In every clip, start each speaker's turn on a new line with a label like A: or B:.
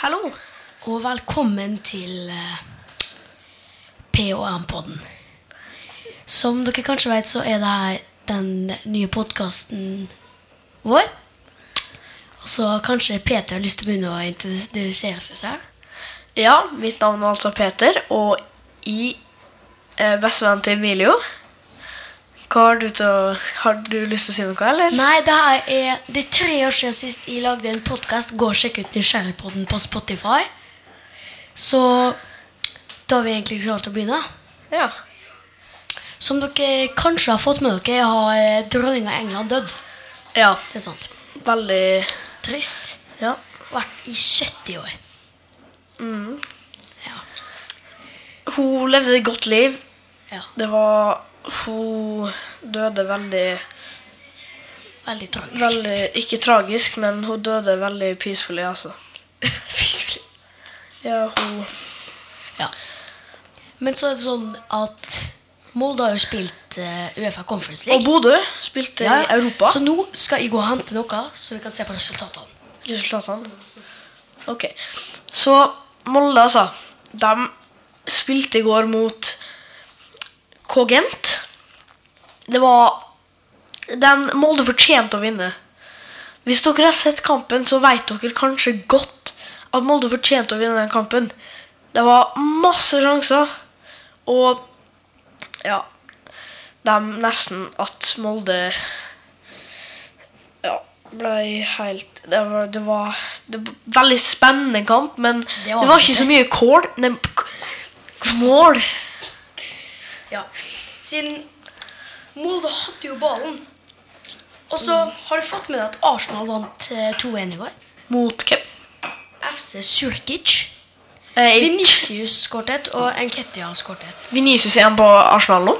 A: Hallo.
B: og velkommen til eh, PHM-podden. Som dere kanskje vet, så er det her den nye podkasten vår. Og så kanskje Peter har lyst til å begynne å introdusere seg selv.
A: Ja, mitt navn er altså Peter, og i eh, bestevennen til Emilio Hva har du til å Har du lyst til å si noe, eller?
B: Nei, det her er Det er tre år siden sist jeg lagde en podkast. Gå og sjekk ut Nysgjerrigpodden på Spotify. Så da har vi egentlig klart å begynne.
A: Ja.
B: Som dere kanskje har fått med dere, har eh, dronninga av England dødd.
A: Ja.
B: Det er sant.
A: Veldig
B: Trist.
A: Ja.
B: vært i 70 år. Ja.
A: Hun levde et godt liv.
B: ja.
A: Det var Hun døde veldig
B: Veldig tragisk.
A: Veldig Ikke tragisk, men hun døde veldig peacefully, altså.
B: Fyselig.
A: Ja, hun
B: ja. Men så er det sånn at Molde har jo spilt eh, Uefa Conference
A: Og
B: League.
A: Bodø spilte i Europa.
B: Så nå skal jeg gå og hente noe, så vi kan se på resultatene.
A: Resultatene. sånn. Ok. Så Molde, altså. De spilte i går mot Kogent. Det var Den Molde fortjente å vinne. Hvis dere har sett kampen, så vet dere kanskje godt at Molde fortjente å vinne den kampen. Det var masse sjanser, og ja De nesten at Molde ja, ble helt Det var, det var, det var veldig spennende kamp, men det
B: var
A: var, ikke så mye kål. Nei, k- mål.
B: Ja. Siden Molde hadde jo ballen. Og så
A: Mm.
B: har du fått med deg at Arsenal vant eh, 2-1 i går.
A: Mot hvem?
B: FC Surkic.
A: Eh,
B: Venicius skåret ett, og Enketia har skåret ett.
A: Venicius igjen på Arsenal nå?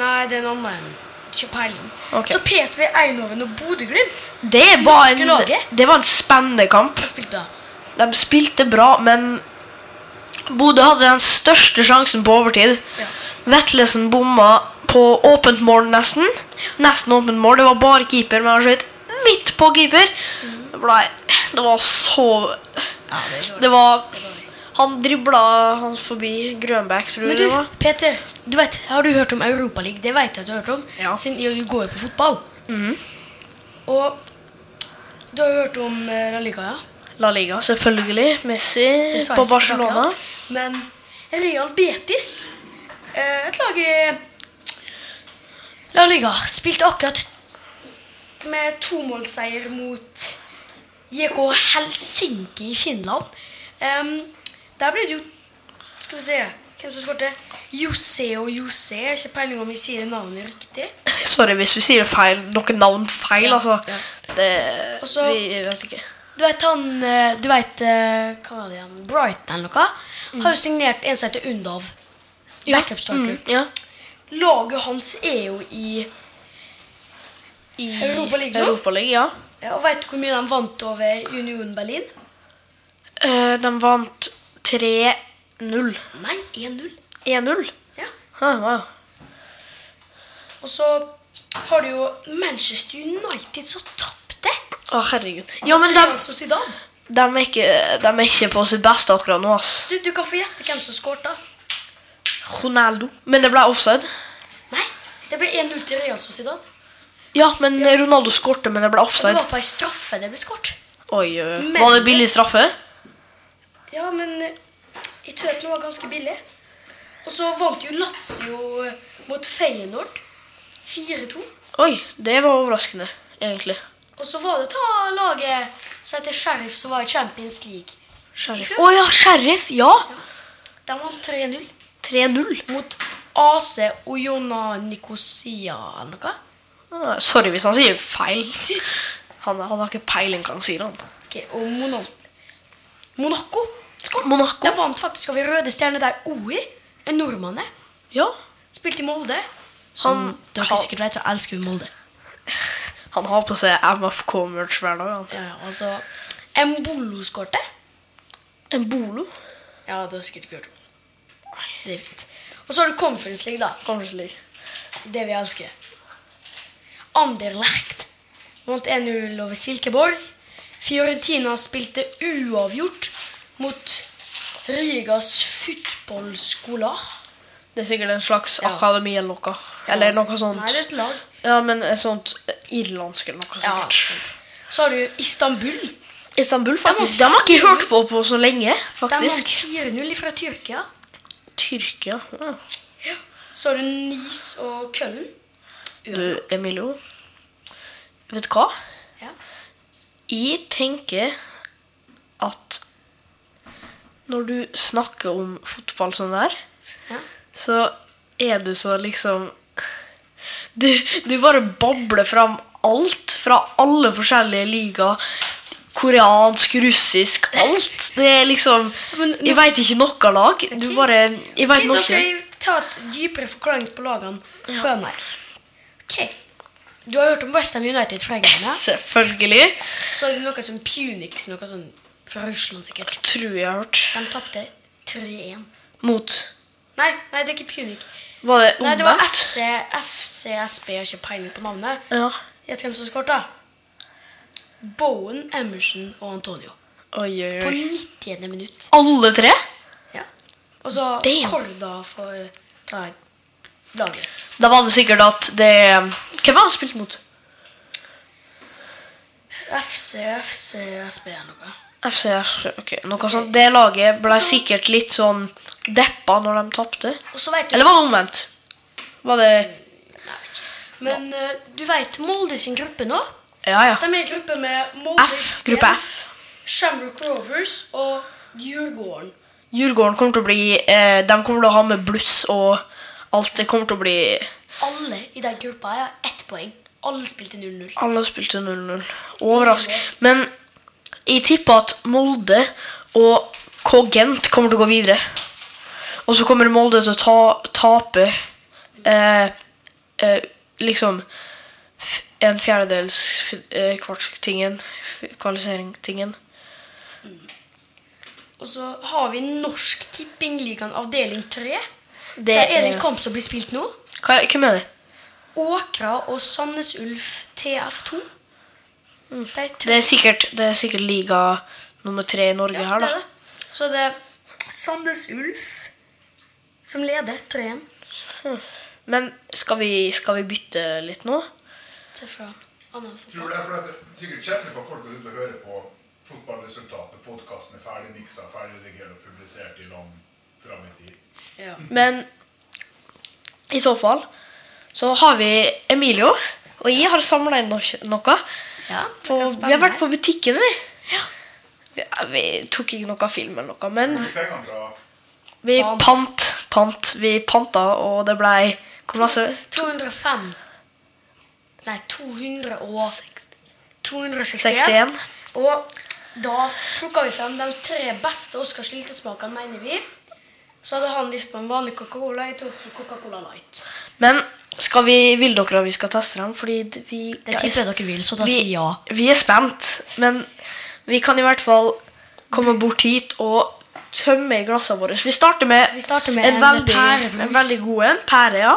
B: Nei, det er en annen. Ikke peiling.
A: Ok.
B: Så PSV, Eindhoven og Bodø-Glimt
A: Det var,
B: Norske
A: en,
B: laget?
A: det var en spennende kamp.
B: har spilt bra.
A: De spilte bra, men Bodø hadde den største sjansen på overtid.
B: Ja.
A: Vetlesen bomma på åpent mål, nesten. Nesten åpent mål. Det var bare keeper, men han skjøt hvitt på keeper. Det, ble, det var så Det var Han dribla han forbi Grønbæk, tror
B: Men
A: jeg
B: du,
A: det var.
B: Peter, du vet, har du hørt om Europaligaen? Det vet jeg at du har hørt om,
A: Ja. Mhm.
B: siden du går jo på fotball. Og du har hørt om eh, La Liga, ja?
A: La Liga, selvfølgelig. Messi
B: Det sa
A: på
B: jeg sikkert
A: Barcelona.
B: akkurat. Men Real Betis, eh, et lag i La Liga, spilte akkurat med tomålseier mot JK Helsinki i Finland. Em, der ble det jo Skal vi se hvem som skåret. José og José. Jeg har Ikke peiling om vi sier navnet riktig.
A: Sorry hvis vi sier feil, noen navn feil,
B: Ja,
A: altså.
B: ja.
A: Det
B: Og så-
A: Vi vet ikke.
B: Du vet han eh, Du vet eh, Hva var det igjen? Brighton eller noe? Har jo signert en som heter Undav. Backup starter.
A: Mm, ja.
B: Laget hans er jo i
A: I
B: Europa League nå?
A: Europa League, ja.
B: Ja, Og veit du hvor mye de vant over Union Berlin?
A: Eh, de vant 3-0.
B: Nei, 1-0.
A: 1-0?
B: Ja.
A: Ah, wow.
B: Og så har du jo Manchester United som tapte.
A: Å, herregud. Ja, men de,
B: Real Sociedad.
A: de, er ikke, de er ikke på sitt beste akkurat nå, ass.
B: Du, du kan få gjette hvem som skåret, da.
A: Ronaldo. Men det ble offside.
B: Nei, det ble 1-0 til Real Sociedad.
A: Ja, men Ronaldo skårte, men det ble
B: Og det
A: offside.
B: var på ei straffe det ble skåret.
A: Oi, oi, oi.
B: Men-
A: Var det billig straffe?
B: Ja, men eh, jeg tror at den var ganske billig. Og så vant jo Lazio eh, mot Feyenoord 4-2.
A: Oi, det var overraskende, egentlig.
B: Og så var det ta laget som heter Sheriff, som var i Champions League.
A: Sheriff. Å ja, Sheriff! Ja!
B: De vant 3-0
A: 3-0.
B: mot AC Oyona Nikosia eller noe.
A: Ah, sorry hvis han sier feil. Han, han har ikke peiling hva han sier, han.
B: Ok, og Mono Monaco. Skål.
A: Monaco.
B: De vant faktisk over Røde Stjerne der OI, en nordmann, er.
A: Ja.
B: spilte i Molde. Som dere
A: har-
B: sikkert vet, så elsker vi Molde.
A: Han har på seg MFK-merch hver dag. Han.
B: Ja, ja, altså Embolo skårte.
A: En bolo.
B: Ja, det har sikkert ikke hørt om. Det er fint. Og så har du Conference League, da.
A: Kanskje slik.
B: Det vi elsker. Anderlecht vant 1-0 over Silkeborg. Fiorentina spilte uavgjort mot Rigas fotballskoler.
A: Det er sikkert en slags
B: Ja.
A: akademi eller noe. Eller noe sånt.
B: Altså, Nei, det er et lag.
A: Ja, men et sånt eh, irlandsk eller noe
B: Ja,
A: sikkert.
B: Så har du Istanbul.
A: Istanbul, faktisk.
B: De
A: De
B: har
A: har ikke
B: fire-
A: hørt på på så lenge,
B: Der vant
A: faktisk.
B: 4-0 fra Tyrkia.
A: Tyrkia. Ja.
B: Så har du Nis og Køllen.
A: Du, Eh, Emilio. Vet du hva?
B: Ja.
A: Jeg tenker at når du snakker om fotball sånn der,
B: Ja.
A: så er du så liksom Du, du bare bobler fram alt fra alle forskjellige ligaer. Koreansk, russisk, alt. Det er liksom
B: Men nå-
A: Jeg veit ikke noe lag. Du
B: Ok.
A: bare Jeg
B: Ok,
A: veit
B: da skal
A: noe.
B: jeg ta et dypere forklaring på lagene før meg. Ok, Du har hørt om Western United fra England?
A: Selvfølgelig.
B: ja? Så er det noe som Punix, noe sånn fra Russland sikkert.
A: Tror jeg har hørt.
B: De tapte 3-1.
A: Mot
B: Nei, nei, det er ikke Punic.
A: Var det
B: Nei, det var
A: omvendt?
B: FC, FCSB, jeg har ikke peiling på navnet.
A: Ja.
B: Gjett hvem som skåret, da. Bowen, Emerson og Antonio.
A: Oi, oi,
B: På
A: oi.
B: 90. minutt.
A: Alle tre?
B: Ja. Og så
A: Damn.
B: Korda for da, laget.
A: Da var det sikkert at det Hvem var det spilt mot?
B: FC, FCSB er noe.
A: FCS, ok, noe sånt. Det laget ble sikkert litt sånn deppa når de tapte.
B: Og så vet du
A: Eller var det omvendt? Var det
B: Men eh, du vet Molde sin gruppe nå.
A: Ja, ja.
B: De er i gruppe med Molde
A: F. Gruppe F.
B: Shamrock Rovers og Djurgården.
A: Djurgården kommer til å bli eh, De kommer til å ha med bluss og alt. Det kommer til å bli
B: Alle i den gruppa har ett poeng. Alle spilte 0-0.
A: Alle spilte 0-0. Overrask. Men jeg tipper at Molde og Kogent kommer til å gå videre. Og så kommer Molde til å ta, tape eh, eh, liksom f- en fjerdedels f- eh, kvartstingen. f- Kvalifiseringstingen.
B: Og så har vi Norsk Tippingligaen avdeling 3.
A: Det
B: Der er det
A: er-
B: en kamp som blir spilt nå.
A: Hva, hvem er det?
B: Åkra og Sandnes Ulf TF2. De
A: Mm. Det er sikkert, det er sikkert liga nummer tre i Norge her, da.
B: det er det. Så det er Sandnes Ulf som leder 3-1
A: Men skal vi, skal vi bytte litt nå?
B: til fra annen fotball.
C: Tror det er fordi at det er sikkert kjedelig for folk å sitte og høre på fotballresultatet, podkasten er ferdig miksa, ferdig redigert og publisert i lang fram i tid.
B: Ja.
A: Men i så fall så har vi Emilio, og jeg har samla inn noe- noe.
B: Ja,
A: På, vi har vært på butikken, vi. Vi, vi tok ikke noe film eller noe, men
C: Hvor pengene fra
A: vi
B: Pant.
A: pant. pant. Vi panta, og det blei Hvor masse?
B: 205 Nei, 200 og 261.
A: 61.
B: Og da plukka vi frem de tre beste Oskar Syltesmakene, mener vi. Så hadde han lyst på en vanlig Coca-Cola. Jeg tok Coca-Cola Light.
A: Men skal vi, vil dere at vi skal teste dem? Fordi d- vi
B: dere vil, så
A: vi, vi er spent, men vi kan i hvert fall komme bort hit og tømme i glassene våre. Vi starter med,
B: Vi starter med
A: en,
B: en
A: veldig,
B: pærebrus.
A: en veldig god en. Pære, ja.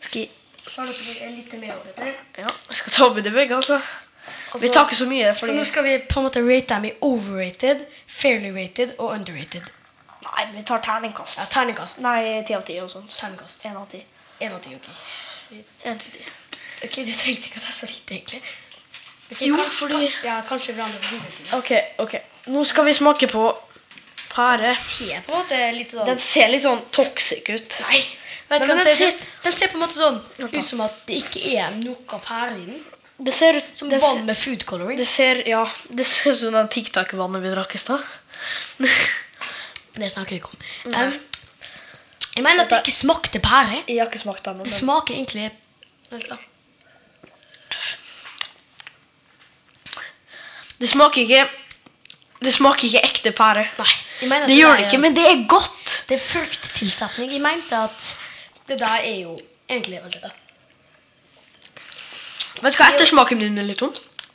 A: Skal,
B: Så har dere er litt mer opp etter.
A: ja. Jeg skal ta oppi det begge, altså.
B: Altså,
A: Vi tar ikke så mye,
B: Så
A: fordi
B: nå skal vi på en måte rate dem i overrated, fairly rated og underrated.
A: Nei, vi tar terningkast.
B: Ja, Terningkast.
A: Nei, ti av ti og sånt.
B: Terningkast.
A: En av ti.
B: Én av ti, OK.
A: En til ti.
B: Ok, Du tenkte ikke at det er så lite, egentlig? Ok,
A: Jo,
B: kanskje,
A: fordi-
B: kan- Ja, kanskje vi andre får gode ting.
A: OK, OK. Nå skal vi smake på pære.
B: Den ser på en måte litt sånn
A: Den ser litt sånn toxic ut.
B: Nei, vet
A: Men
B: du hva
A: den
B: den
A: ser-
B: ser Den ser på en måte sånn ut som at det ikke er noe pære i den.
A: Det ser ut
B: Som
A: det
B: vann med food coloring.
A: Det ser, ja, det ser ut som den TikTok-vannet vi drakk i stad.
B: Det snakker vi ikke om. Um, jeg mener at det ikke smakte pære.
A: Jeg har ikke smakt den.
B: Det
A: Men...
B: smaker egentlig Vent da.
A: Det smaker ikke Det smaker ikke ekte pære.
B: Nei. Jeg mener at
A: Det gjør det
B: er-
A: ikke, men det er godt.
B: Det er frukttilsetning. Jeg mente at det der er jo egentlig Vent litt, da.
A: Vet du hva ettersmaken min er litt tom?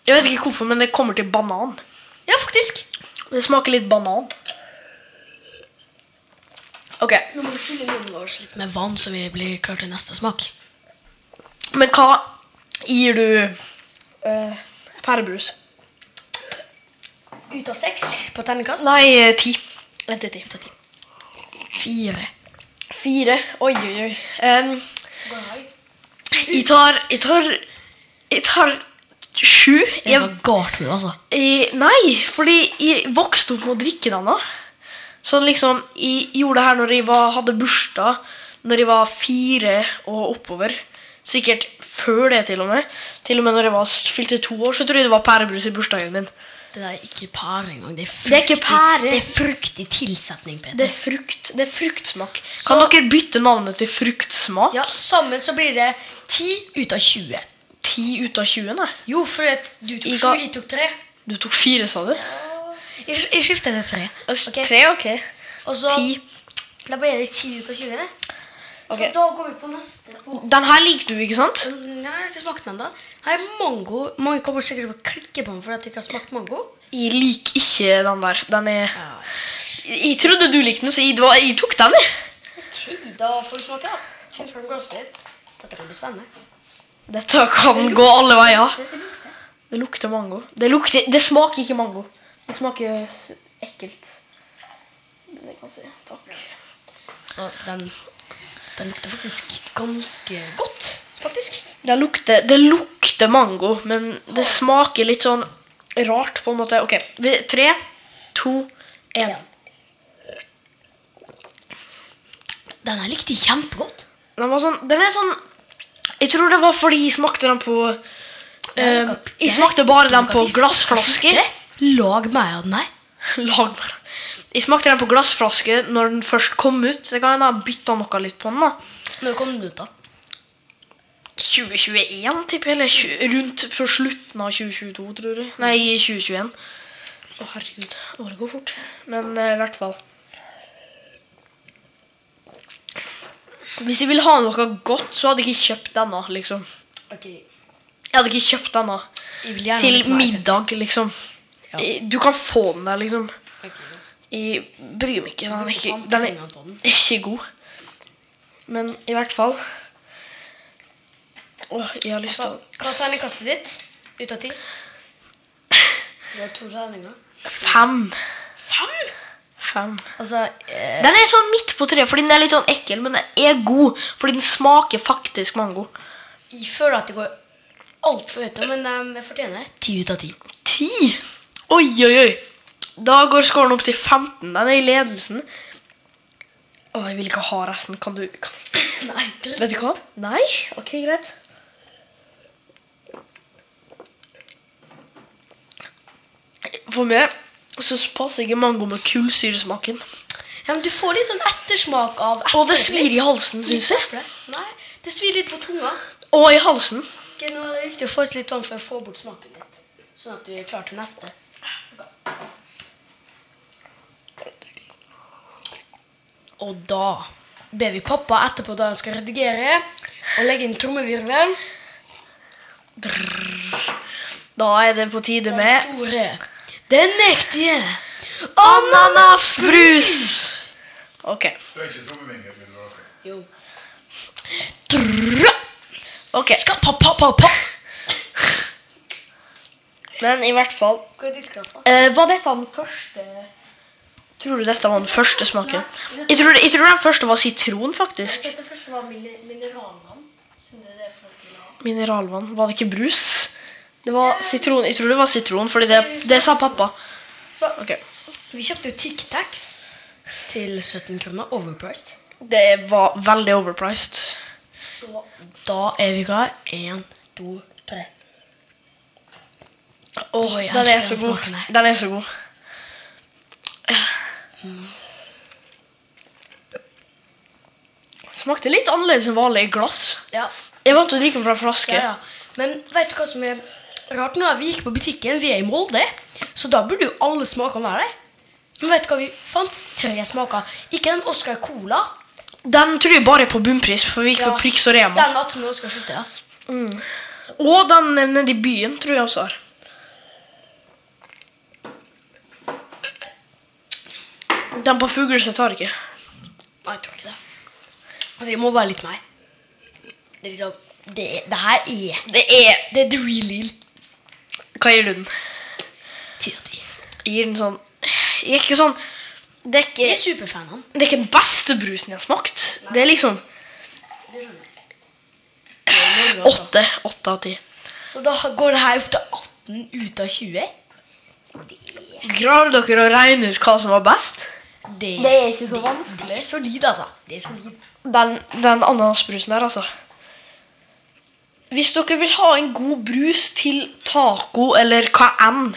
A: Jeg vet ikke hvorfor, men det kommer til banan.
B: Ja, faktisk.
A: Det smaker litt banan. Ok,
B: Nå må vi skylle munnen vår litt med vann, så vi blir klare til neste smak.
A: men hva gir du eh, pærebrus?
B: ut av seks på tennekast?
A: Nei, eh, ti. Vent litt. ti.
B: Fire.
A: Fire. Oi, oi, oi. Em,
B: Går det høy?
A: jeg tar Jeg tar Jeg tar sju.
B: Det
A: Jeg,
B: var galt, du, altså.
A: jeg, nei, fordi jeg vokste opp med å drikke den. da. Så liksom, jeg gjorde det her når jeg var, hadde bursdag, når jeg var fire og oppover. Sikkert før det, til og med. Til og med når jeg var, fylte to år, så tror jeg det var pærebrus i bursdagen min.
B: Det der er ikke pære engang. Det er
A: er ikke
B: fruktig,
A: pære.
B: det er fruktig tilsetning, Peter.
A: Det er frukt, det er fruktsmak. Kan dere bytte navnet til fruktsmak?
B: Ja, Sammen så blir det 10 ut av 20.
A: 10 ut av 20, nei.
B: Jo, for at du tok
A: Jeg
B: 7,
A: ga-
B: jeg tok 3.
A: Du tok fire, sa du?
B: Jeg, jeg skiftet til 3. Ok.
A: Tre, ok.
B: Og så,
A: Ti.
B: Da ble det 10 ut av 20. Så
A: Ok.
B: da går vi på neste. På.
A: Den her liker du, ikke sant?
B: Nei, ikke smakt den da. Her er mango. Mange kommer sikkert til å klikke på den fordi at de ikke har smakt mango.
A: Jeg liker ikke den der. Den er Jeg trodde du likte den, så jeg, det var- jeg tok den, jeg.
B: Ok, da får du smake, da. Kjenn fram glasset. Dette kan bli spennende.
A: Dette kan gå alle veier. Det lukter mango. Det, lukter, det smaker ikke mango. Det smaker s- ekkelt. Men jeg kan si takk.
B: Så den, den lukter faktisk ganske godt, faktisk.
A: Det lukter, det lukter mango, men det smaker litt sånn rart, på en måte. Ok, vi- tre, to, én.
B: Den her likte jeg kjempegodt.
A: Den var sånn Den er sånn Jeg tror det var fordi jeg smakte den på eh, Jeg smakte bare den på glassflasker.
B: Lag mer av den her.
A: Lag meg den. Jeg smakte den på glassflaske når den først kom ut. Så det kan hende jeg bytta noe litt på den. da
B: Når kom den ut, da?
A: 2021, tipper jeg. Eller tju- rundt på slutten av 2022, tror jeg. Nei, 2021. Å, herregud. Året går fort. Men eh, i hvert fall. Hvis jeg ville ha noe godt, så hadde jeg ikke kjøpt denne, liksom.
B: Ok,
A: Jeg hadde ikke kjøpt denne
B: jeg vil gjerne
A: til
B: litt mer.
A: middag, liksom.
B: Ja.
A: I- Du kan få den der, liksom.
B: Ok, da.
A: Jeg bryr meg ikke. Den er ikke,
B: Fant
A: den
B: pengene på den.
A: er ikke god. Men i hvert fall Åh, jeg har lyst
B: Så,
A: til å
B: hva er terningkastet ditt? Ut av ti? Du har to terninger.
A: Fem.
B: Fem?
A: Fem.
B: Altså, eh,
A: Den er sånn midt på treet, fordi den er litt sånn ekkel, men den er god. Fordi den smaker faktisk mango.
B: jeg føler at det går altfor høyt nå, men eh, jeg fortjener det. Ti ut av ti.
A: Ti! Oi, oi, oi. Da går scoren opp til 15. Den er i ledelsen. Å, jeg vil ikke ha resten. Kan du kan...
B: Nei, dritt.
A: Vet du hva? Nei? Ok, greit. For meg så passer ikke mango med kullsyresmaken.
B: Ja, men du får litt sånn ettersmak av
A: Og Ah, det svir i halsen, syns jeg.
B: eple. Nei, det svir litt på tunga.
A: Og i halsen.
B: Ok, nå er det viktig å få i seg litt vann for å få bort smaken litt. Sånn at du er klar til neste. Og da ber vi pappa etterpå da han skal redigere, og legge inn trommevirvelen.
A: Da er det på tide
B: Den
A: med
B: store, den mektige
A: ananasbrus. Ok.
C: Du er ikke trommevinger, vil du ha det?
B: Jo.
A: ok.
B: Skal pa, pa, pa, pa.
A: Men i hvert fall
B: Hva er ditt glass, da?
A: eh, Var dette den første Tror du dette var den første smaken? Jeg tror, jeg tror den første var sitron, faktisk.
B: Dette første var mineralvann. Siden det er det folk vil ha.
A: Mineralvann. Var det ikke brus? Det var sitron. Jeg tror det var sitron, fordi det, det sa pappa.
B: Så,
A: Ok.
B: Vi kjøpte jo Tic Tacs til 17 kroner, overpriced.
A: Det var veldig overpriced.
B: Så da er vi klare. Én, to, tre.
A: Åh,
B: jeg
A: den er så
B: elsker den
A: god.
B: smaken her.
A: Den er så god.
B: Mm.
A: Smakte litt annerledes enn vanlig i glass.
B: Ja,
A: Jeg vant til å drikke den fra en flaske.
B: ja, ja. Men vet du hva som er rart? Nå er vi gikk på butikken, vi er i Molde, så da burde jo alle smakene være der. Men vet du hva vi fant? Tre smaker. Ikke den Oscar Cola.
A: Den tror jeg bare er på bunnpris, for vi gikk
B: Ja.
A: på Prix og Rema.
B: Den at med Oscar Skytte, ja.
A: Og den nede i byen tror jeg også har. Den på Fugleseth har ikke.
B: Nei, jeg tror ikke det. Altså, jeg må være litt meg. Det er liksom Det, det her er
A: Det er
B: Det er the real deal.
A: Hva gir du den?
B: Ti av ti.
A: gir den sånn jeg er ikke sånn det er
B: Jeg er
A: ikke,
B: superfan av han.
A: det er ikke den beste brusen jeg har smakt. Det er liksom
B: Det er Norge, altså.
A: åtte. Åtte av ti.
B: Så da går det her opp til 18 ut av 20.
A: Klarer dere å regne ut hva som var best?
B: Det,
A: er ikke så
B: vanskelig. Det er solid, altså. Det er solid.
A: Den, den ananasbrusen der, altså. Hvis dere vil ha en god brus til taco eller hva enn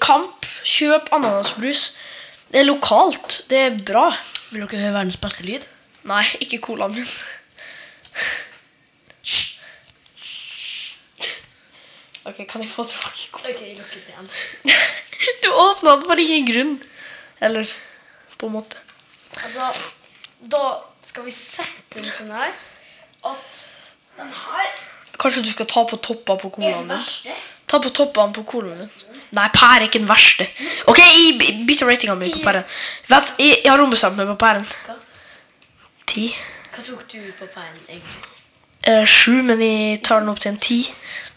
A: Kamp, kjøp ananasbrus. Det er lokalt. Det er bra.
B: Vil dere høre verdens beste lyd?
A: Nei, ikke colaen min. OK, kan jeg få tilbake colaen?
B: Ok, jeg lukker den.
A: Du åpna den for ingen grunn. Eller på en måte.
B: Altså, da skal vi sette den sånn her. At den her
A: Kanskje du skal ta på toppa på
B: er den
A: colaen din?
B: verste.
A: Ta på toppen på colaen din. Nei, pære er ikke den verste. OK, jeg by- bytter ratinga mi på pæren. Vent, jeg, jeg har ombestemt meg på pæren.
B: Hva?
A: Ti.
B: Hva tok du på pæren, egentlig?
A: Eh, Sju, men jeg tar den opp til en ti.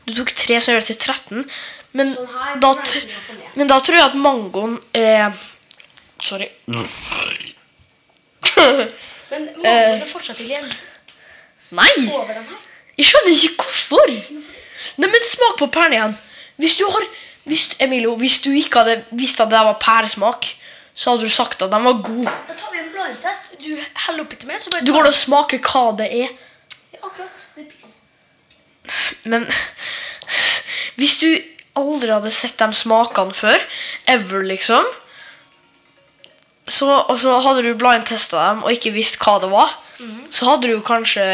A: Du tok tre, så gjør det til 13. Men
B: Sånn her,
A: da,
B: den
A: t-
B: rankinga for meg.
A: men da tror jeg at mangoen eh, Sorry.
B: Men mangoen er fortsatt i ledelse
A: Nei!
B: Eh, over den her.
A: Jeg skjønner ikke hvorfor. Nei, men smak på pæren igjen. Hvis du har hvis, Emilio, hvis du ikke hadde visst at det var pæresmak, så hadde du sagt at den var god.
B: Da tar vi en blindtest. Du heller oppi til meg, så bare
A: Du går og smaker hva det er.
B: Ja, akkurat. Det er piss.
A: Men hvis du aldri hadde sett de smakene før, ever liksom, så, og så hadde du blindtesta dem og ikke visst hva det var,
B: Mhm.
A: så hadde du kanskje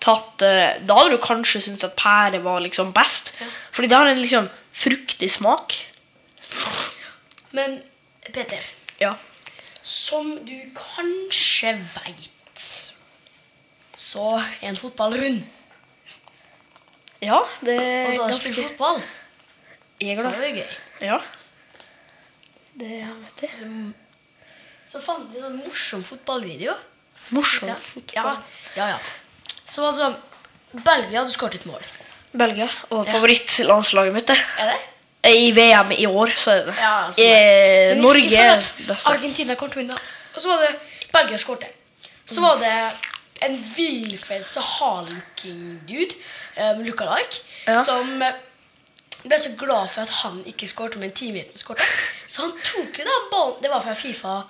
A: tatt eh, Da hadde du kanskje syntes at pære var liksom best. Fordi det har en liksom fruktig smak.
B: Men Peter,
A: Ja.
B: som du kanskje veit, så er en fotball rund.
A: Ja, det
B: Og
A: er
B: da du spiller
A: ganske
B: fotball,
A: Jeg er
B: så er
A: glad.
B: det gøy.
A: Ja. Det vet jeg.
B: Så fant vi en sånn morsom fotballvideo.
A: Morsom
B: Ja.
A: fotball.
B: Ja, ja, ja. Så altså, Belgia hadde skåret et mål.
A: Belgia. Og favorittlandslaget mitt, det.
B: Er det?
A: I VM i år, så er det det.
B: Ja, ja, sånn
A: eh,
B: Men jeg-
A: Norge
B: jeg føler
A: er
B: at
A: best.
B: Argentina kom til å vinne. Og så var det Belgia skårte. Så var det en villfrelse hard-looking dude, um, lookalike,
A: Ja.
B: som eh, ble så glad for at han ikke skårte, men teammaten skårte. Så han tok jo den ballen Det var fra Fifa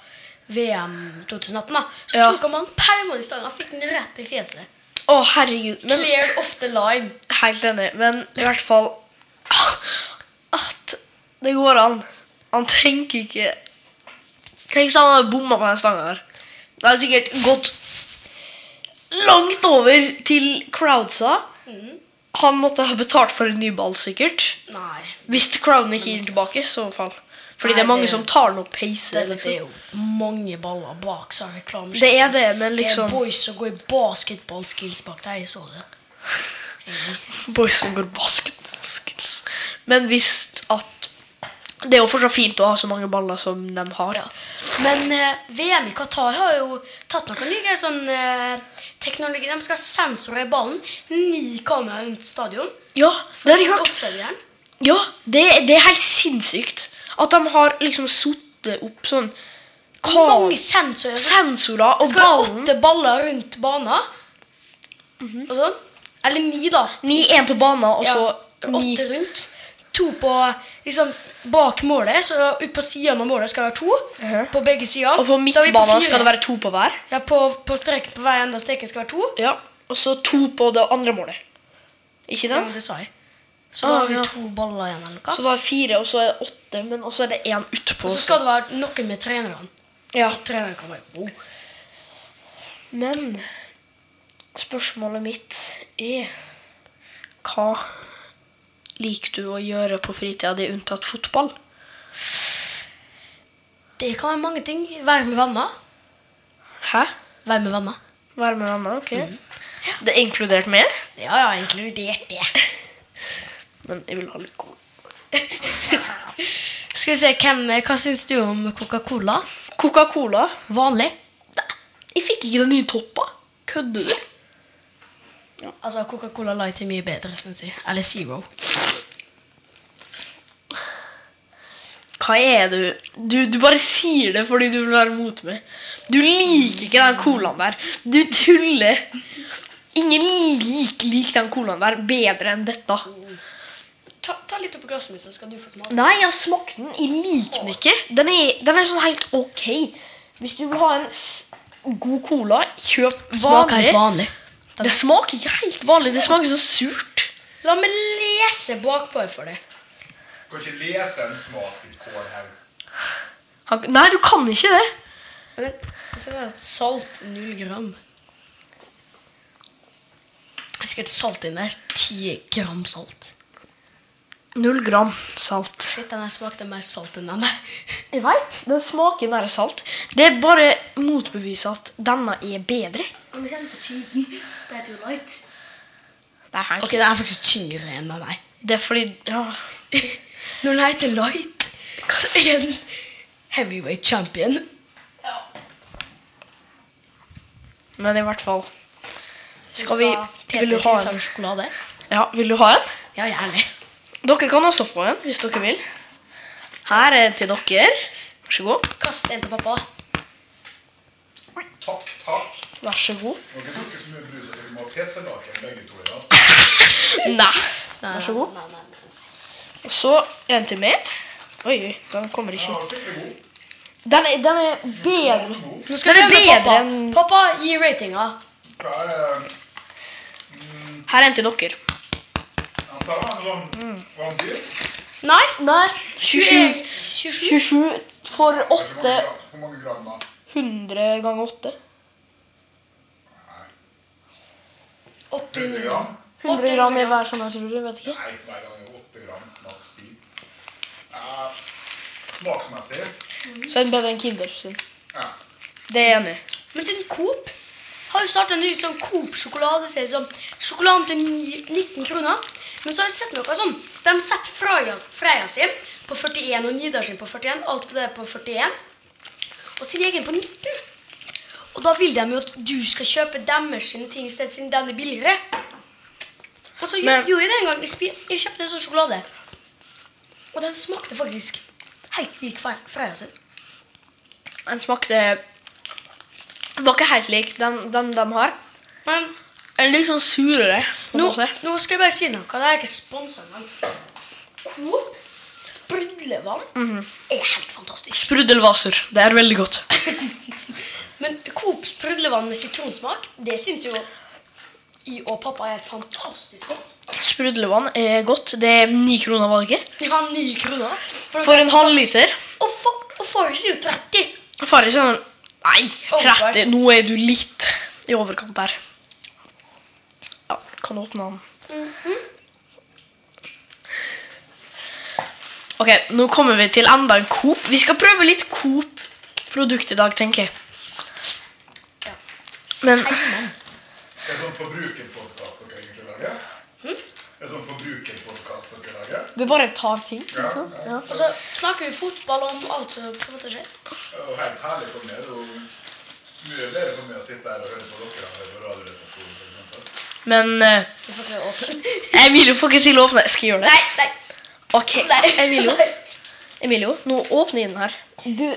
B: VM 2018, da. Så
A: Ja.
B: tok han ballen permanent i stanga, fikk den rett i fjeset.
A: Å, herregud. Men,
B: Cleared off the line.
A: helt enig. Men i hvert fall At det går an. Han tenker ikke Tenk hvis han hadde bomma på den stanga her. Det hadde sikkert gått langt over til crowdsa.
B: Mm.
A: Han måtte ha betalt for en ny ball, sikkert.
B: Nei.
A: Hvis crowden ikke gir den tilbake, så fall. Fordi
B: Nei,
A: det er mange
B: det-
A: som tar den opp peiser.
B: Det, det er jo mange baller bak, så har reklamen
A: Det er det, men liksom
B: Det er boys som går i basketballskills bak deg. Jeg så det.
A: Boys som går basketballskills. Men visst at Det er jo fortsatt fint å ha så mange baller som de har.
B: Men eh, VM i Qatar har jo tatt noen nye sånn eh, teknologi. De skal sensore i ballen. Ni kameraer rundt stadion.
A: Ja, det har jeg hørt.
B: Offside-jern.
A: Ja, det, det er helt sinnssykt. At de har liksom sittet opp sånn Hva?
B: Mange sensorer. Det
A: Sensorer og
B: skal
A: ballen.
B: være
A: Mhm.
B: åtte baller rundt banen. Og sånn. Eller ni, da.
A: Ni, én på banen, og så
B: ja,
A: ni
B: åtte rundt. To på liksom, bak målet, så ut på siden av målet skal det være to. På begge sider.
A: Og på
B: Da er vi
A: midtbanen
B: fire.
A: skal det være to på hver.
B: Ja, på, på streken på hver ende av streken skal være to.
A: Ja, Og så to på det andre målet. Ikke
B: Ja,
A: det?
B: det sa jeg. Så
A: Ah,
B: da har vi
A: ja.
B: to baller igjen, eller
A: Så
B: hva?
A: da er det fire, og så er det åtte, men og så er det én utpå.
B: Og så skal det være noen med trenerne.
A: Ja.
B: Så treneren kan være wow.
A: Men spørsmålet mitt er Hva liker du å gjøre på fritida di unntatt fotball?
B: Det kan være mange ting. Være med venner.
A: Hæ? Mhm.
B: Være med venner.
A: Være med venner? Ok. Det er inkludert meg,
B: Ja, ja, inkludert det.
A: men jeg vil ha litt cola.
B: Skal vi se, hvem, hva syns du om Coca-Cola?
A: Coca-Cola.
B: Vanlig?
A: Jeg fikk ikke den nye toppa. Kødder du?
B: Altså, Coca-Cola Light er mye bedre, syns jeg. Eller Zero.
A: Hva er du? du Du bare sier det fordi du vil være mot meg. Du liker ikke den colaen der. Du tuller. Ingen lik lik den colaen der bedre enn dette.
B: Ta, ta litt oppi glasset mitt, så skal du få smake.
A: Nei, jeg har smakt den. Jeg liker den ikke. Den er, den er sånn helt ok. Hvis du vil ha en s god cola, kjøp
D: Smaker helt
A: vanlig.
D: vanlig.
A: Det smaker ikke helt vanlig. Det smaker så surt.
B: La meg lese bakpå for deg.
C: Kan ikke lese en smak til kålhaug.
A: Han- Nei, du kan ikke det.
B: Men, se der, salt null gram. Jeg skal ikke salt inn der. Ti gram salt.
A: Null gram salt.
B: Shit, den her smakte mer salt enn denne.
A: Jeg veit. Den smaker mer salt. Det er bare motbevise at denne er bedre.
E: Om vi kjenner på typen, det heter jo light.
A: Det er,
B: Ok, den er faktisk tyngre enn den her.
A: det er fordi ja.
B: Når den heter light, så er den heavyweight champion.
A: Men i hvert fall Skal vi Vil du ha en?
B: sjokolade?
A: Ja, vil du ha en?
B: Ja, gjerne.
A: Dere kan også få en hvis dere vil. Her er en til dere. Vær så god.
B: Kast en til pappa.
C: Takk, takk.
A: Vær så god.
C: Dere bruker så mye brus at dere må ha PC-laken begge to i dag.
A: Nei. Vær så god. Og så en til meg. Oi, oi, den kommer
C: Ja,
A: ikke.
C: den er god.
A: Den er, den er bedre.
C: god.
B: Nå skal
A: Den er
B: vi
A: bedre
B: gjøre pappa.
A: enn-
B: Pappa, gi ratinga.
C: Hva er
A: Her er en til dere.
C: Han tar en sånn vampyr.
B: Nei.
A: Nei. 27,
B: 27.
A: 27 for
C: Hvor mange
A: 8.
C: gram- hvor mange gram da?
A: 100 ganger 8.
C: 100 gram?
A: 100 gram i hver sånn her, tror du? Vet ikke.
C: Nei, hver gang er 8 gram. Maks 10. Eh, Smaksmessig
A: Så er den bedre enn Kinder sin.
C: ja.
A: Det er jeg enig i.
B: Men siden Coop har jo startet en ny sånn Coop-sjokolade som heter sånn sjokoladen til ni- 19 kroner. Men så har jeg sett noe sånn. De setter Freia, Freia sin på 41 og Nidar sin på 41. Alt på det på 41. Og sin egen på 19. Og da vil de jo at du skal kjøpe deres sine ting i stedet, siden den er billigere. Og så gj-
A: Men-
B: gjorde jeg det en gang. Jeg, spi, jeg kjøpte en sånn sjokolade. Og den smakte faktisk helt lik Fre- Freia sin.
A: Den smakte Den var ikke helt lik den, den de har.
B: Men
A: En litt sånn surere.
B: Nå,
A: Nå.
B: nå skal jeg bare si noe. Det er ikke sponsa engang. Coop sprudlevann
A: Mhm.
B: er helt fantastisk.
A: Sprudelvaser. Det er veldig godt.
B: Men Coop sprudlevann med sitronsmak, det syns jo jeg og pappa er helt fantastisk godt.
A: Sprudlevann er godt. Det er ni kroner, var det ikke?
B: De har ni kroner. For,
A: For en halvliter.
B: Og, for, og Farris er jo 30.
A: Farris er sånn Nei, 30.
B: Overkant.
A: Nå er du litt i overkant der. Ja, kan du åpne den? Ok, nå kommer vi til enda en Coop. Vi skal prøve litt Coop-produkt i dag, tenker jeg. Men
C: Det er sånn forbrukerpodkast dere egentlig lager? Det er sånn forbrukerpodkast dere lager?
A: vi bare tar ting.
C: Ja.
A: liksom.
C: ja.
B: Og så snakker vi fotball om alt som på en måte skjer.
C: Og helt herlig for meg. Det er jo mye bedre for meg å sitte her og høre på dere enn å høre på Radioresepsjonen f.eks.
A: Men eh,
B: Vi får til å åpne.
A: jeg vil jo faktisk ikke åpne. Skal jeg gjøre det?
B: Nei, nei,
A: Ok,
B: nei.
A: Emilio,
B: Nei.
A: Emilio nå åpner jeg den her. Du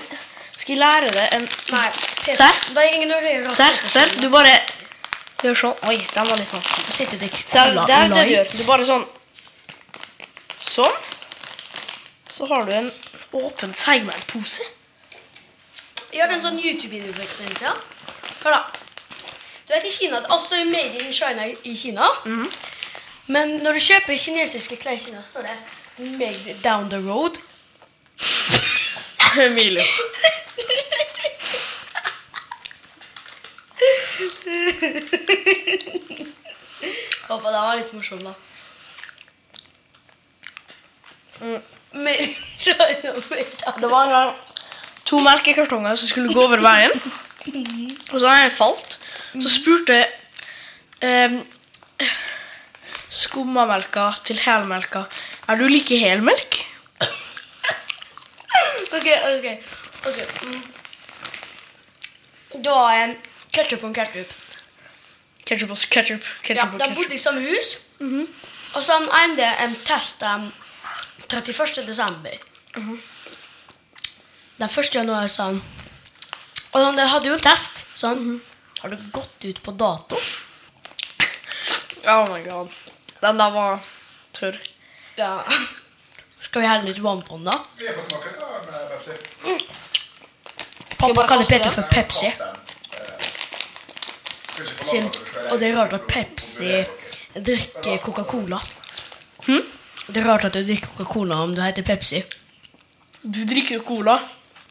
A: skal jeg lære deg en
B: Nei.
A: Se her.
B: Det er ingen røyere.
A: Se her, se her. Du bare gjør sånn. Oi, den var litt vanskelig.
B: Sitter det ikke
A: Se her, det er det du gjør.
D: light.
A: Du bare sånn. Sånn. Så har du en åpen seigmennpose.
B: Jeg hørte en sånn YouTube-video for ikke så lenge siden. Hør da. Du vet i Kina, altså i Made in China i- i Kina. Men når du kjøper kinesiske klær i Kina, står det Made down the road.
A: Emilio.
B: Håper det var litt morsomt, da. Made in Mm. China, made down.
A: Det var en gang to melkekartonger som skulle gå over veien. Og så hadde en falt. Så spurte um, skummamelka til helmelka Er du like helmelk?
B: Ok, ok. ok. Mm. Da er en ketchup og en ketchup.
A: Ketchup og ketchup.
B: Ja,
A: ketchup og
B: de bodde
A: ketchup.
B: i samme hus. Mhm. Og så han ene en test um, 31. desember. Den første januar sa han Og han hadde jo en test, sa han. Har det gått ut på dato?
A: Oh my god. Den der var tørr.
B: Ja. Skal vi helle litt vann på den, da?
C: Jeg får smake litt av den, eh, Pepsi.
B: Pappa kaller Peter
A: kaste
B: for Pepsi.
C: Den, eh, skal ikke
B: Sin.
C: forlate at skal
B: Og det er
C: være-
B: rart at Pepsi drikker Coca-Cola. Hm? Det er rart at du drikker Coca-Cola om du heter Pepsi.
A: Du drikker jo cola.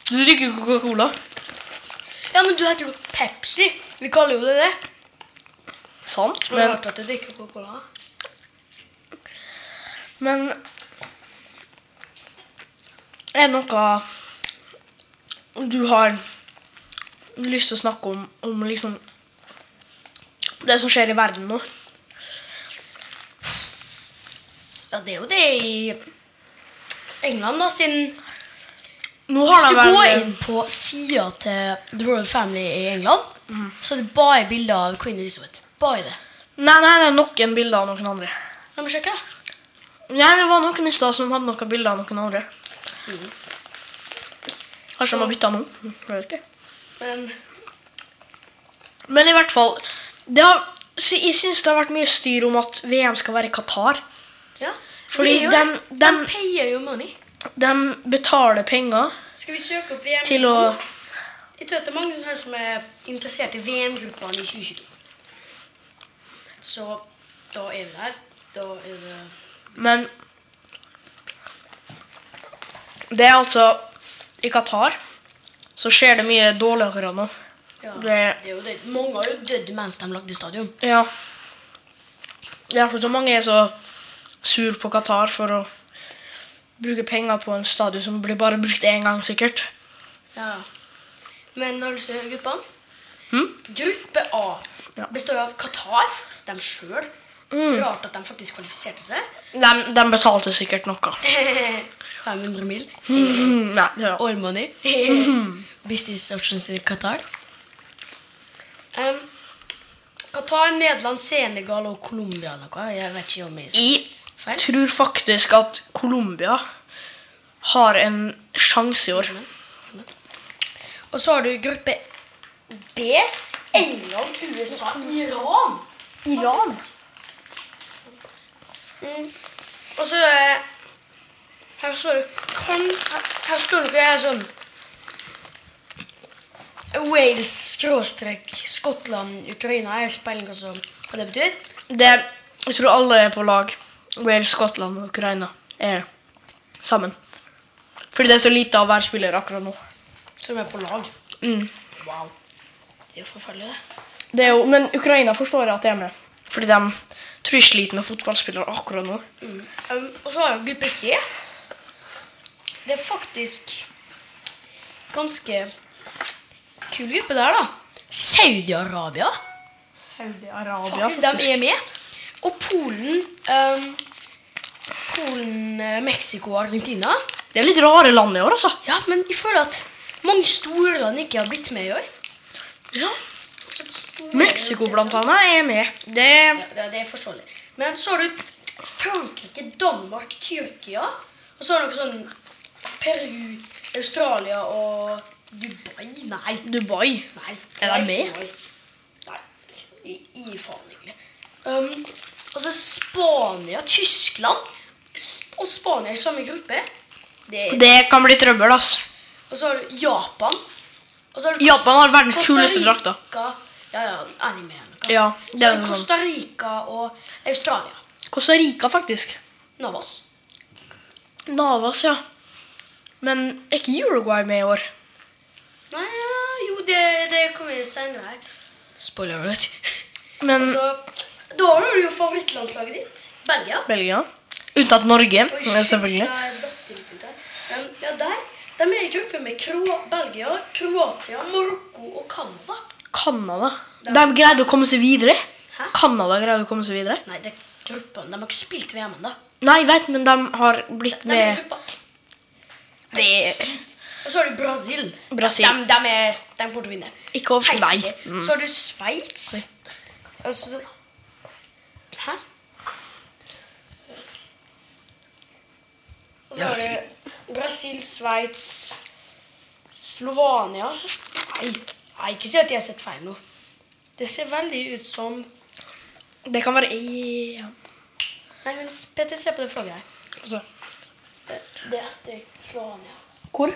A: Du drikker jo Coca-Cola.
B: Ja, men du heter jo Pepsi. Vi kaller jo det det.
A: Sant,
B: Men,
A: men,
B: rart at du drikker Coca-Cola.
A: men Er det noe du har lyst til å snakke om, om liksom det som skjer i verden nå?
B: Ja, det er jo det i England, da, siden
A: Nå
B: Hvis
A: har
B: du
A: det vel-
B: går inn på sida til The Royal Family i England,
A: Mhm.
B: så er det bare bilder av Queen Elizabeth. Bare det.
A: Nei, nei, det er noen bilder av noen andre.
B: La meg sjekke. da.
A: Nei, det var noen i stad som hadde noen bilder av noen andre. Kanskje de har bytta noen. Mm. Jeg vet ikke.
B: Men
A: Men i hvert fall det har, sy- Jeg syns det har vært mye styr om at VM skal være i Qatar.
B: ja.
A: Fordi
B: Det er jo
A: dem-
B: det.
A: dem-
B: de payer jo money.
A: De betaler penger
B: Skal vi søke opp VM?
A: til å
B: Jeg tror at det er mange her som er interessert i VM-gruppene i 2022. Så da er vi der. Da er det
A: Men det er altså I Qatar så skjer det mye dårligere nå.
B: ja,
A: Det-
B: det, er jo det. Mange har jo dødd mens de lagde stadion.
A: Ja. Derfor så mange er så sur på Qatar for å bruke penger på en stadion som blir bare brukt én gang, sikkert.
B: Ja. Men har du lyst til å høre gruppene?
A: Hm?
B: Gruppe A
A: Ja. Mm.
B: består av Qatar, dem sjøl. Rart at de faktisk kvalifiserte seg.
A: De, de betalte sikkert noe.
B: 500 mil.
A: Mm, Nei, ja.
B: All money. Business options i Qatar. Em, Qatar, Nederland, Senegal og Colombia eller hva? Jeg vet ikke om jeg
A: Jeg tror faktisk at Colombia har en sjanse i år.
B: Og så har du gruppe B. England, USA, Iran. Iran? Mm. Og så er det- Her står det kan, her- Her står det her sånn Wales, skråstrek, Skottland, Ukraina. Jeg har ikke peiling på hva som- hva det betyr.
A: Det, jeg tror alle er på lag. Wales, Skottland og Ukraina er sammen. Fordi det er så lite av hver spiller akkurat nå.
B: Så de er på lag.
A: Mm.
B: Wow. Det er jo forferdelig, det.
A: Det er jo, men Ukraina forstår jeg at de er med. Fordi de tror jeg sliter med fotballspillere akkurat nå.
B: Um, og så har jeg gruppe C. Det er faktisk ganske kul gruppe der, da. Saudi-Arabia.
A: Saudi-Arabia,
B: Faktisk, de er med. Og Polen, um, Polen, eh, Mexico og Argentina.
A: Det er litt rare land i år, altså.
B: Ja, men jeg føler at mange store land ikke har blitt med i år.
A: Ja. Mexico blant annet er med. Det
B: Ja, det- det er forståelig. Men så har du Frankrike, Danmark, Tyrkia. Og så har du noe sånn Peru, Australia og Dubai. Nei.
A: Dubai.
B: Nei.
A: Er de med?
B: Nei. Nei. I, i faen, egentlig. Um, og så Spania, Tyskland S- og Spania i samme gruppe. Det,
A: Det kan bli trøbbel, altså.
B: Og så har du Japan. Og så har du
A: Japan har verdens
B: Costa
A: kuleste
B: Rica.
A: drakter.
B: Ja, ja, anime eller noe.
A: Ja,
B: så
A: det er
B: har du
A: noe
B: Costa Rica og Australia.
A: Costa Rica, faktisk.
B: Navas.
A: Navas, ja. Men er ikke Uruguay med i år?
B: Nei, ja, jo, det, det kommer jo senere her. Spoiler alert.
A: Men
B: Så, da har du jo favorittlandslaget ditt. Belgia.
A: Belgia? Unntatt Norge,
B: Oi,
A: men
B: shit,
A: selvfølgelig.
B: da datt det litt ut her. Men, ja, der. De er i gruppe med Kro Belgia, Kroatia, Marokko og Canada.
A: Canada. De greide å komme seg videre.
B: Hæ?
A: Canada greide å komme seg videre.
B: Nei, det er gruppen. De har ikke spilt VM ennå.
A: Nei, veit, men de har blitt
B: De er i
A: med
B: gruppa.
A: Det
B: Og så har du Brasil.
A: Brasil.
B: De, de, er, de kommer til å vinne.
A: Ikke å
B: Helt
A: Nei. Mm.
B: sikkert. Så har du Sveits. Og så- Hæ? Og så har du Brasil, Sveits Slovania så- altså. Nei, nei ikke si at jeg har sett feil nå. Det ser veldig ut som
A: Det kan være i ja.
B: Nei, men Petter, se på det flagget her.
A: altså,
B: Det- Det heter Slovania.
A: Hvor?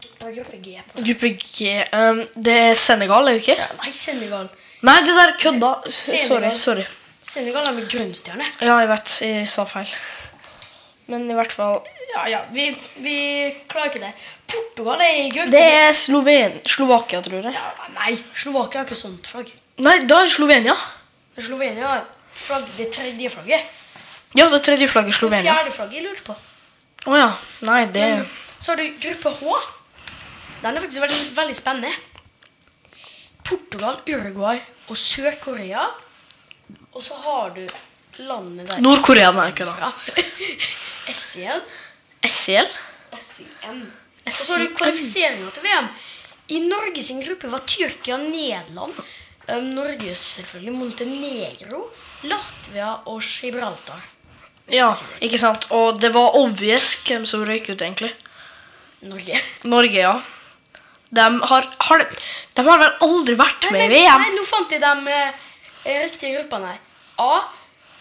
B: Det var gruppe G. på
A: Gruppe G um, Det er Senegal, er det ikke?
B: Nei, Senegal.
A: Nei, det der kødda. S- Sorry.
B: Senegal.
A: sorry.
B: Senegal har med grønnstjerne.
A: Ja, jeg vet. Jeg sa feil. Men i hvert fall
B: Ja, ja, vi, vi klarer ikke det. Portugal er i gruppe
A: Det er Sloven... Slovakia, tror jeg.
B: Ja, nei, Slovakia har ikke sånt flagg.
A: Nei, da er det Slovenia.
B: Men Slovenia har flagg, det tredje flagget.
A: Ja, det tredje flagget er
B: Det
A: Slovenia.
B: fjerde flagget jeg lurte på.
A: Å ja. Nei, det
B: Men Så har du gruppe H. Den er faktisk veldig, veldig spennende. Portugal, Uruguay og Sør-Korea. Og så har du landet der
A: Nord-Korea, nei, ikke da.
B: Ja. SEL.
A: SEL?
B: SEM. Og så har du kvalifiseringa til VM. I Norge sin gruppe var Tyrkia, Nederland, eh, Norge selvfølgelig, Montenegro, Latvia og Gibraltar.
A: Ja, ikke sant. Og det var obvious hvem som røyk ut, egentlig.
B: Norge.
A: Norge, ja. De har, har, de har vel aldri vært med i VM?
B: nei, nå fant jeg de eh, riktige gruppene her. A.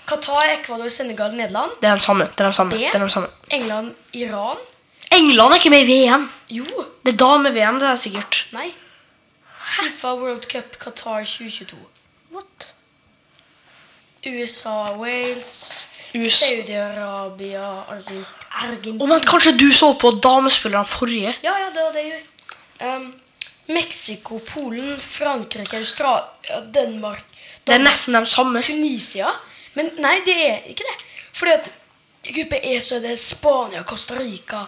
B: Qatar, Ecuador, Senegal, Nederland.
A: Det er de samme. det er de samme,
B: B.
A: det er de samme.
B: England, Iran.
A: England er ikke med i VM.
B: Jo.
A: Det er da med VM, det er sikkert.
B: Nei. Fifa World Cup Qatar 2022.
A: What?
B: USA, Wales,
A: US-
B: Saudi-Arabia, Argent- Argentina
A: Oh, men kanskje du så på damespillerne forrige?
B: Ja, ja, det var det jeg gjorde. Um, Mexico, Polen, Frankrike, Australia, Danmark,
A: Det er nesten de samme.
B: Tunisia. Men nei, det er ikke det. Fordi at i gruppe E så er det Spania, Costa Rica,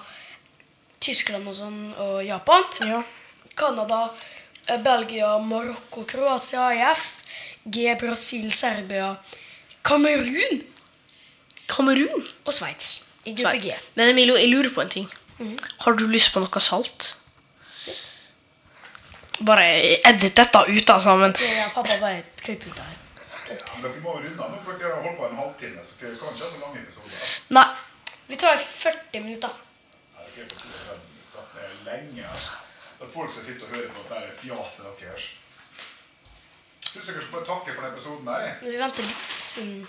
B: Tyskland og sånn, og Japan.
A: Ja.
B: Canada, eh, Belgia, Marokko, Kroatia, IF. G, Brasil, Serbia, Kamerun
A: Kamerun?
B: og Sveits. I gruppe G. Mhm.
A: Men Emilio, jeg lurer på en ting. Har du lyst på noe salt? Bare edit dette ut, altså. Men
B: Det er pappa bare klipper ut her.
C: Ja, men dere må jo runde av nå, for dere har holdt på en halvtime. Så dere kan ikke ha så lange episoder.
A: nei.
B: Vi tar 40 minutter.
C: Nei, dere er på 32 minutter. Det er lenge. At folk skal sitte og høre på at det er fjaset deres. Syns dere skal bare takke for denne episoden her. jeg.
B: Vi venter litt. Siden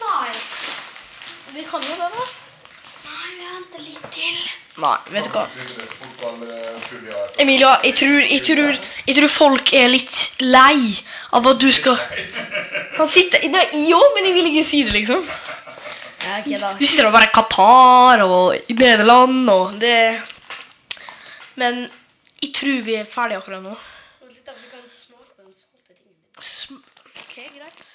E: Nei.
B: Vi kan jo det, da.
E: Nei, vi venter litt til.
A: Nei, vet du hva.
C: eh, Fotball,
A: Emilia, jeg tror, jeg, tror, jeg tror folk er litt lei av at du skal Han sitter Nei, jo, men jeg vil ikke si det, liksom.
B: Ja, ok, da.
A: Du sitter og bare Qatar og Nederland og det Men jeg tror vi er ferdige akkurat nå.
B: Vent litt, da, for vi kan smake på den salte tingen.
A: Sm- Ok, greit.